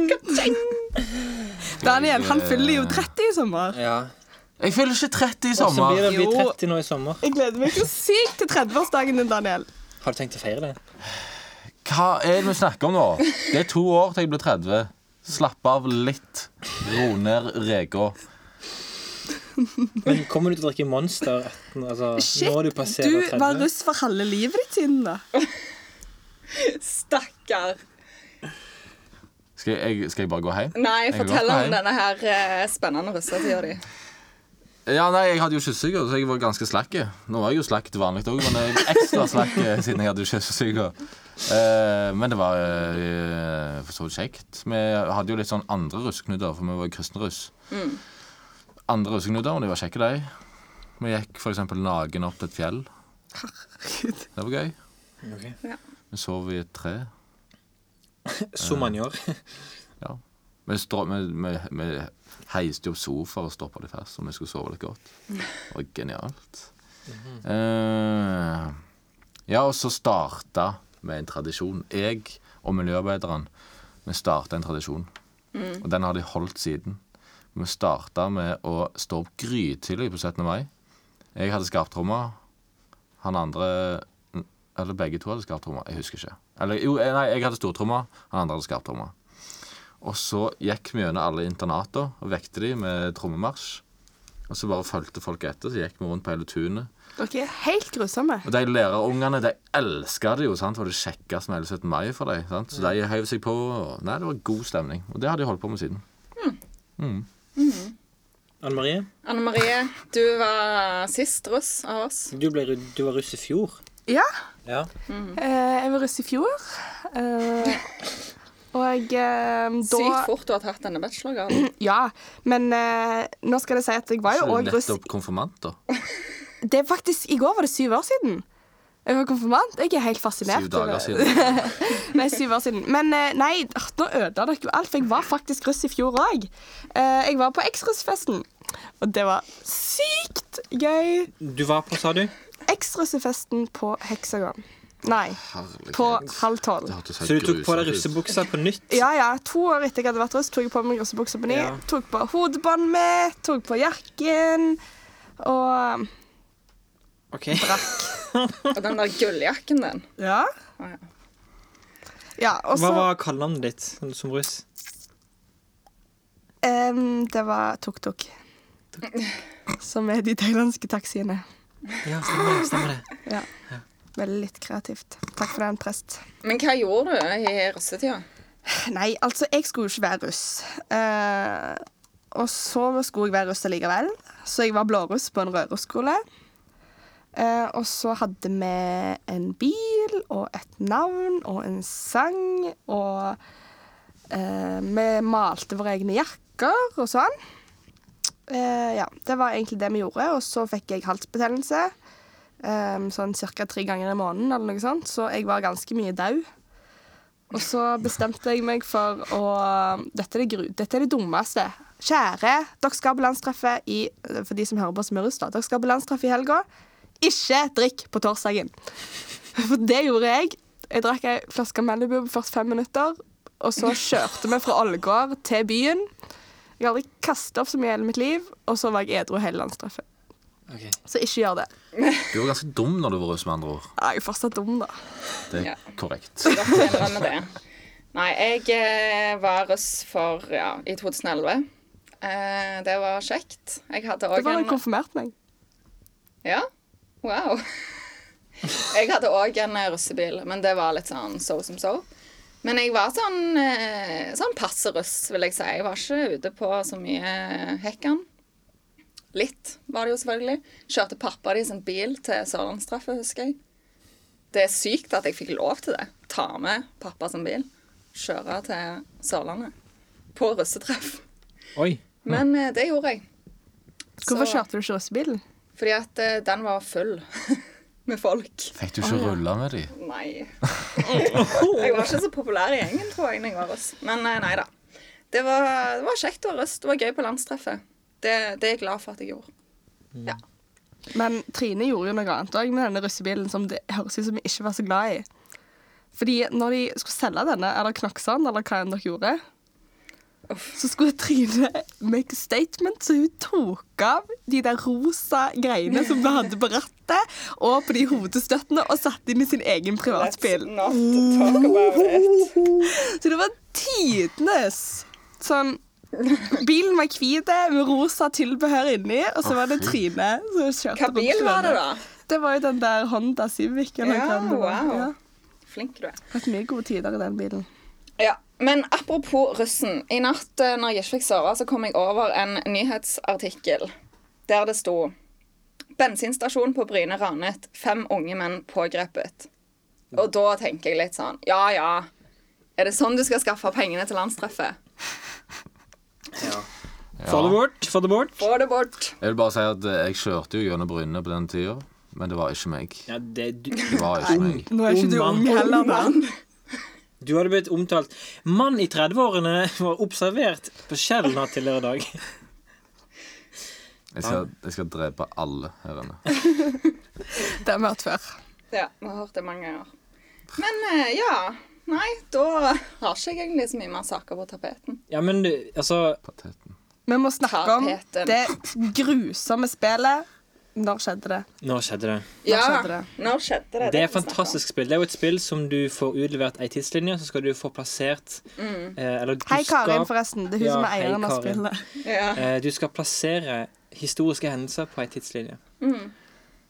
Speaker 4: Daniel han fyller jo 30 i sommer.
Speaker 2: Ja.
Speaker 1: eh, Jeg fyller ikke 30 i
Speaker 2: Og så
Speaker 1: sommer.
Speaker 2: blir det blir
Speaker 4: Jo.
Speaker 2: 30 nå i sommer.
Speaker 4: Jeg gleder meg så sykt til 30-årsdagen din, Daniel.
Speaker 2: Har du tenkt å feire det?
Speaker 1: Hva er det vi snakker om nå? Det er to år til jeg blir 30. Slapp av litt. Ro ned reka.
Speaker 2: Men kommer du til å drikke Monster etter altså, Nå har du passert
Speaker 4: du var
Speaker 2: 30?
Speaker 4: russ for halve livet ditt siden da.
Speaker 3: Stakkar.
Speaker 1: Skal jeg, skal jeg bare gå hjem?
Speaker 3: Nei,
Speaker 1: Jeg
Speaker 3: fortell
Speaker 1: går
Speaker 3: om
Speaker 1: hjem.
Speaker 3: denne her eh, spennende russetida di.
Speaker 1: Ja, nei, Jeg hadde jo kyssesyke, så jeg var ganske slakk. Nå var jeg jo slakk til vanlig òg, men jeg var ekstra slakk eh, siden jeg hadde kyssesyke. Eh, men det var eh, for så vidt kjekt. Vi hadde jo litt sånn andre russeknuter, for vi var kristne russ.
Speaker 3: Mm.
Speaker 1: Andre russeknuter, og de var kjekke, de. Vi gikk f.eks. naken opp til et fjell.
Speaker 4: Herregud.
Speaker 1: Det var gøy.
Speaker 2: Okay.
Speaker 1: Vi sov i et tre.
Speaker 2: Som man gjør.
Speaker 1: Ja. Vi, strå, vi, vi, vi heiste opp sofaer og stoppa de fast, og vi skulle sove litt godt. Det var genialt. Eh, ja, og så starta vi en tradisjon. Jeg og miljøarbeideren, vi starta en tradisjon. Og den har de holdt siden. Vi starta med å stå opp grytidlig på 17. mai. Jeg hadde skarptromma. Han andre Eller begge to hadde skarptromma. Jeg husker ikke. Eller jo, nei, jeg hadde stortromma. Han andre hadde skarptromma. Og så gikk vi gjennom alle internater og vekte de med trommemarsj. Og så bare fulgte folk etter, så gikk vi rundt på hele tunet.
Speaker 4: Dere er helt grusomme.
Speaker 1: Og de lærerungene, de elska det jo, sant? for det kjekkeste med hele 17. mai for dem. sant? Så de heiv seg på. og Nei, det var god stemning. Og det har de holdt på med siden.
Speaker 2: Anne Marie,
Speaker 3: Anne Marie, du var sist russ av oss.
Speaker 2: du, ble, ru- du var russ i fjor.
Speaker 4: Ja.
Speaker 2: Ja.
Speaker 4: Eh, jeg var russ i fjor. Eh, og eh,
Speaker 3: Sykt
Speaker 4: da
Speaker 3: fort du har tatt denne bachelorgraden.
Speaker 4: Ja, men eh, nå skal jeg si at jeg var jo
Speaker 1: Så
Speaker 4: òg russ
Speaker 1: nettopp konfirmant, da.
Speaker 4: Det er faktisk I går var det syv år siden. Jeg var konfirmant. Jeg er helt fascinert.
Speaker 1: Syv dager
Speaker 4: over-
Speaker 1: siden.
Speaker 4: Nei, syv år siden. Men eh, nei, åh, nå ødela dere jo alt, for jeg var faktisk russ i fjor òg. Jeg var på eksrussfesten, og det var sykt gøy.
Speaker 2: Du var på, sa du?
Speaker 4: Eksrussefesten på Heksagon. Nei, på
Speaker 1: Herlighet.
Speaker 4: halv tolv.
Speaker 1: Det hørtes helt
Speaker 2: Så du tok på deg
Speaker 1: grusomt ut.
Speaker 2: russebuksa på nytt?
Speaker 4: Ja, ja. To år etter jeg hadde vært russ, tok jeg på meg russebuksa på ny.
Speaker 2: Ja.
Speaker 4: Tok på hodebåndet mitt, tok på jakken og
Speaker 2: Ok.
Speaker 3: Og den der gulljakken din.
Speaker 4: Ja.
Speaker 3: Å,
Speaker 4: Ja, og
Speaker 2: Hva
Speaker 4: så
Speaker 2: var kallenavnet ditt sånn som- som russ?
Speaker 4: em, Det var tuk-tuk. Som er de thailandske taxiene.
Speaker 2: Ja, stemmer det. Stemmer det.
Speaker 4: Ja. Veldig litt kreativt. Takk for den, prest.
Speaker 3: Men hva gjorde du i russetida?
Speaker 4: Nei, altså, jeg skulle jo ikke være russ. Eh, og så skulle jeg være russ likevel, så jeg var blåruss på en rødrusskole. Eh, og så hadde vi en bil og et navn og en sang, og eh, vi malte våre egne jakker og sånn. Eh, ja, det var egentlig det vi gjorde, og så fikk jeg halsbetennelse. eh, sånn ca. tre ganger i måneden, eller noe sånt, så jeg var ganske mye daud. Og så bestemte jeg meg for å Dette er det, gru, dette er det dummeste. Kjære, dere skal på landstreffet i For de som hører på som er russ, da. Dere skal på landstreffet i helga. Ikke drikk på torsdagen. For det gjorde jeg. Jeg drakk ei flaske Malibu på 45 minutter. Og så kjørte vi fra Ålgård til byen. Jeg har aldri kasta opp så mye i hele mitt liv. Og så var jeg edru hele landstreffet.
Speaker 2: Ok.
Speaker 4: Så ikke gjør det.
Speaker 1: Du var ganske dum når du var russ, med andre ord.
Speaker 4: Jeg er fortsatt dum, da.
Speaker 1: Det
Speaker 3: Ja.
Speaker 1: er korrekt.
Speaker 3: Godt å innrømme det. Nei, jeg eh, var russ for ja, i 2011. Eh, det var kjekt. Jeg hadde
Speaker 4: Det
Speaker 3: òg
Speaker 4: var da jeg
Speaker 3: en
Speaker 4: konfirmerte meg.
Speaker 3: Ja. Wow. Jeg hadde òg en eh, russebil, men det var litt sånn so som so. Men jeg var sånn, eh, sånn passe russ, vil jeg si. Jeg var ikke ute på så mye hekkan. Litt var det jo selvfølgelig. Kjørte pappa de sin bil til Sørlandstreffet, husker jeg. Det er sykt at jeg fikk lov til det. Ta med pappa sin bil, kjøre til Sørlandet. På russetreff.
Speaker 2: Oi.
Speaker 3: Men eh, det gjorde jeg.
Speaker 4: Hvorfor
Speaker 3: Så-
Speaker 4: kjørte du ikke russebilen?
Speaker 3: Fordi at eh, den var full med folk.
Speaker 1: Fikk du ikke rulla med de?
Speaker 3: Nei. Jeg var ikke så populær i gjengen, tror jeg, da jeg var russ. Men eh, nei da. Det var, det var kjekt å være russ. Det var gøy på landstreffet. Det, det er jeg glad for at jeg gjorde.
Speaker 4: Men Trine gjorde jo noe annet òg med denne russebilen som det høres ut som vi ikke var så glad i. Fordi når de skulle selge denne, eller Knakksand, eller hva enn dere gjorde, så skulle Trine make a statement, så hun tok av de der rosa greiene som vi hadde på rattet, og på de hodestøttene, og satte inn i sin egen
Speaker 3: Let's
Speaker 4: privatbil.
Speaker 3: not talk about it.
Speaker 4: Så det var tidenes sånn Bilen var hvit med rosa tilbehør inni, og så var det Trine som
Speaker 3: Hva
Speaker 4: kjørte rundt
Speaker 3: bil
Speaker 4: med
Speaker 3: var det,
Speaker 4: denne.
Speaker 3: da?
Speaker 4: Det var jo den der Honda Civic. Eller
Speaker 3: Ja,
Speaker 4: hva det var.
Speaker 3: wow.
Speaker 4: Ja,
Speaker 3: Flink du er.
Speaker 4: Hatt mye gode tider i den bilen.
Speaker 3: Ja, Men apropos russen. I natt eh, når jeg ikke fikk sove, så kom jeg over en nyhetsartikkel der det sto Bensinstasjon på Bryne ranet. Fem unge menn pågrepet. Og da tenker jeg litt sånn Ja ja, er det sånn du skal skaffe pengene til landstreffet?
Speaker 2: Få det bort, få det bort.
Speaker 3: Få det bort.
Speaker 1: Jeg vil bare si at eh, jeg kjørte jo gjennom Bryne på den tida, men det var ikke meg.
Speaker 2: Ja, det, du,
Speaker 1: Det var ikke meg.
Speaker 4: Nå er ikke du
Speaker 2: Ung
Speaker 4: ung
Speaker 2: mann.
Speaker 4: heller, da.
Speaker 3: Mann.
Speaker 2: du hadde blitt omtalt Mann i 30-årene var observert på Shell natt til lørdag.
Speaker 1: Jeg skal, jeg skal drepe alle her inne.
Speaker 4: Det har vi hørt før.
Speaker 3: Ja, vi har hørt det mange ganger. Men eh, ja. Nei, da har ikke jeg egentlig så mye mer saker på tapeten.
Speaker 2: Ja, men du, altså
Speaker 1: Pateten.
Speaker 4: Vi må snakke om
Speaker 3: Tapeten.
Speaker 4: det grusomme spillet. Når skjedde det?
Speaker 2: Nå skjedde det.
Speaker 3: Ja,
Speaker 4: skjedde det?
Speaker 3: Når skjedde det?
Speaker 2: Det er et
Speaker 3: kan vi snakke om.
Speaker 2: fantastisk spill. Det er jo et spill som du får utlevert ei tidslinje, så skal du få plassert eh, Eller du
Speaker 4: Mm. Hei, Karin,
Speaker 2: skal,
Speaker 4: forresten. Det er hun
Speaker 2: Ja,
Speaker 4: som er
Speaker 2: hei,
Speaker 4: eieren av
Speaker 2: Karin.
Speaker 4: spillet.
Speaker 3: Ja.
Speaker 2: eh, du skal plassere historiske hendelser på ei tidslinje.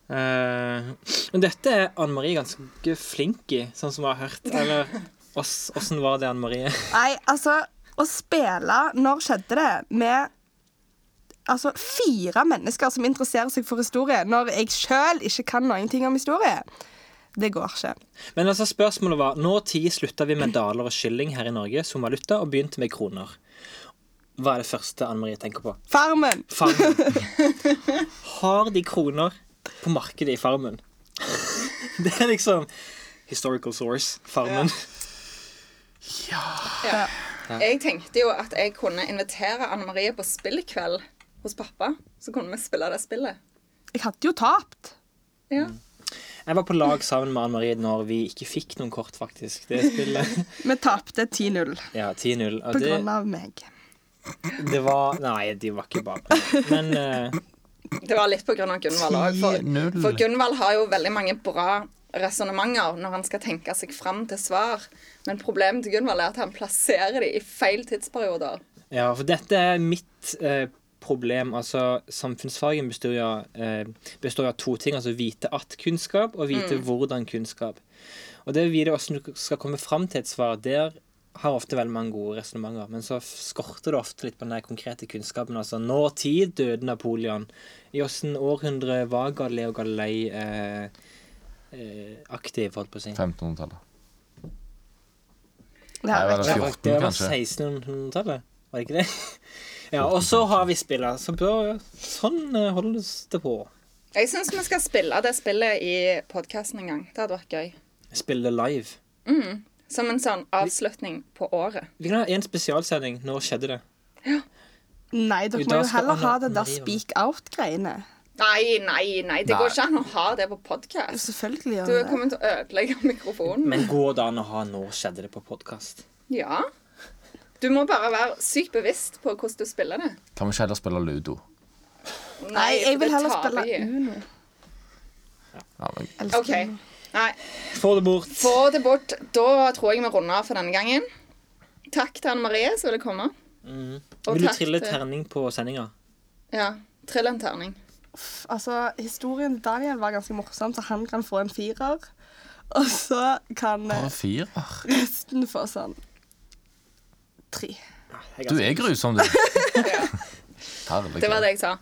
Speaker 2: Eh, men dette er Anne Marie ganske flink i, sånn som vi har hørt. Eller oss- åssen var det, Anne Marie?
Speaker 4: Nei, altså, å spille Når skjedde det? med altså, fire mennesker som interesserer seg for historie, når jeg sjøl ikke kan noen ting om historie. Det går ikke.
Speaker 2: Men altså spørsmålet var når tid slutta vi med daler og kylling her i Norge som valuta, og begynte med kroner? Hva er det første Anne Marie tenker på?
Speaker 4: Farmen!
Speaker 2: Farmen. Har de kroner på markedet i Farmen? Det er liksom historical source. Farmen.
Speaker 3: Jeg tenkte jo at jeg kunne invitere Anne Marie på spillkveld hos pappa. Så kunne vi spille det spillet.
Speaker 4: Jeg hadde jo tapt.
Speaker 3: Ja.
Speaker 2: Jeg var på lag sammen med Anne Marie når vi ikke fikk noen kort, faktisk. Det spillet.
Speaker 4: Vi tapte 10-0
Speaker 2: Ja, 10-0. Og
Speaker 4: på
Speaker 2: det,
Speaker 4: grunn av meg.
Speaker 2: det var Nei, de var ikke bare Men eh,
Speaker 3: Det var litt på grunn av Gunvald òg. For,
Speaker 1: 10-0.
Speaker 3: for Gunvald har jo veldig mange bra resonnementer når han skal tenke seg fram til svar. Men problemet til Gunvald er at han plasserer de i feil tidsperioder.
Speaker 2: Ja, for dette er mitt eh, problem. Altså, samfunnsfagen består jo av, eh, består av to ting. Altså vite at-kunnskap og vite hvordan-kunnskap. Og det å vite hvordan du skal komme fram til et svar, der har ofte veldig mange gode resonnementer. Men så f- skorter det ofte litt på den der konkrete kunnskapen. Altså når tid døde Napoleon? I åssen århundre var Galileo Galilei eh, eh, aktiv, holdt på å si?
Speaker 1: 1500-tallet.
Speaker 4: Det
Speaker 1: Nei,
Speaker 4: her
Speaker 1: vel,
Speaker 2: Ja,
Speaker 4: er ikke.
Speaker 1: 14,
Speaker 2: det var
Speaker 1: kanskje.
Speaker 2: 1600-tallet, var det ikke det? Ja, og så har vi spillet. Så da, sånn eh, holdes det på.
Speaker 3: Jeg syns vi skal spille det spillet i podkasten en gang. Det hadde vært gøy.
Speaker 2: Spille live.
Speaker 3: Som en sånn avslutning på året.
Speaker 2: Vi kan ha en spesialsending. Når skjedde det?
Speaker 4: Nei, dere
Speaker 2: Jo,
Speaker 4: må
Speaker 2: da
Speaker 4: jo
Speaker 2: skal
Speaker 4: heller ha
Speaker 2: Anna
Speaker 4: det der
Speaker 2: Marie være med.
Speaker 4: speak out-greiene.
Speaker 3: Nei, nei, nei. Det går
Speaker 1: Nei.
Speaker 3: ikke an å ha det på podkast.
Speaker 4: Selvfølgelig gjør
Speaker 3: Du
Speaker 4: det.
Speaker 3: kommer til å ødelegge mikrofonen.
Speaker 2: Men går det an å ha 'Når skjedde det?' på podkast?
Speaker 3: Ja. Du må bare være sykt bevisst på hvordan du spiller det.
Speaker 1: Kan vi ikke heller spille ludo?
Speaker 4: Nei, jeg vil
Speaker 3: det
Speaker 4: heller
Speaker 3: tar
Speaker 4: spille
Speaker 3: vi.
Speaker 4: Uno.
Speaker 1: Ja, men
Speaker 4: Elsker
Speaker 3: OK.
Speaker 4: Uno.
Speaker 3: Nei,
Speaker 2: Få det bort.
Speaker 3: få det bort. Da tror jeg vi runder av for denne gangen. Takk til Anne Marie som ville komme. Og
Speaker 2: Vil du
Speaker 3: takk
Speaker 2: trille
Speaker 3: til-
Speaker 2: terning på sendinga?
Speaker 3: Ja. Trill en terning.
Speaker 4: Uff, Altså, historien til Daniel var ganske morsom, så han kan få en firer. Og så kan eh,
Speaker 1: bare fire?
Speaker 4: resten få sånn tre.
Speaker 1: Du er grusom, du. Herregud.
Speaker 3: Det var det jeg sa.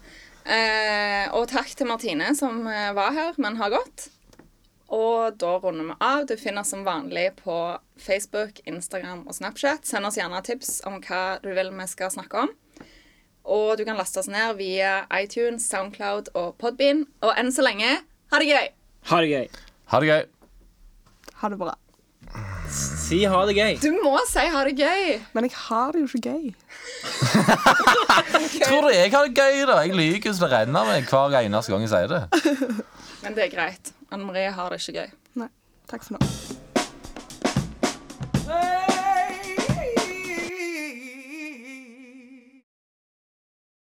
Speaker 3: Eh, og takk til Martine som eh, var her, men har gått. Og da runder vi av. Du finner oss som vanlig på Facebook, Instagram og Snapchat. Send oss gjerne tips om hva du vil vi skal snakke om. Og du kan laste oss ned via iTunes, Soundcloud og Podbean. Og enn så lenge, ha det gøy!
Speaker 2: Ha det gøy.
Speaker 1: Ha det gøy.
Speaker 4: Ha det bra.
Speaker 2: Si ha det gøy.
Speaker 3: Du må si ha det gøy.
Speaker 4: Men jeg har det jo ikke gøy.
Speaker 1: Tror du jeg har det gøy, da? Jeg lyver så det renner av meg hver eneste gang jeg sier det.
Speaker 3: Men det er greit. Anne Marie har det ikke gøy.
Speaker 4: Nei. Takk for nå.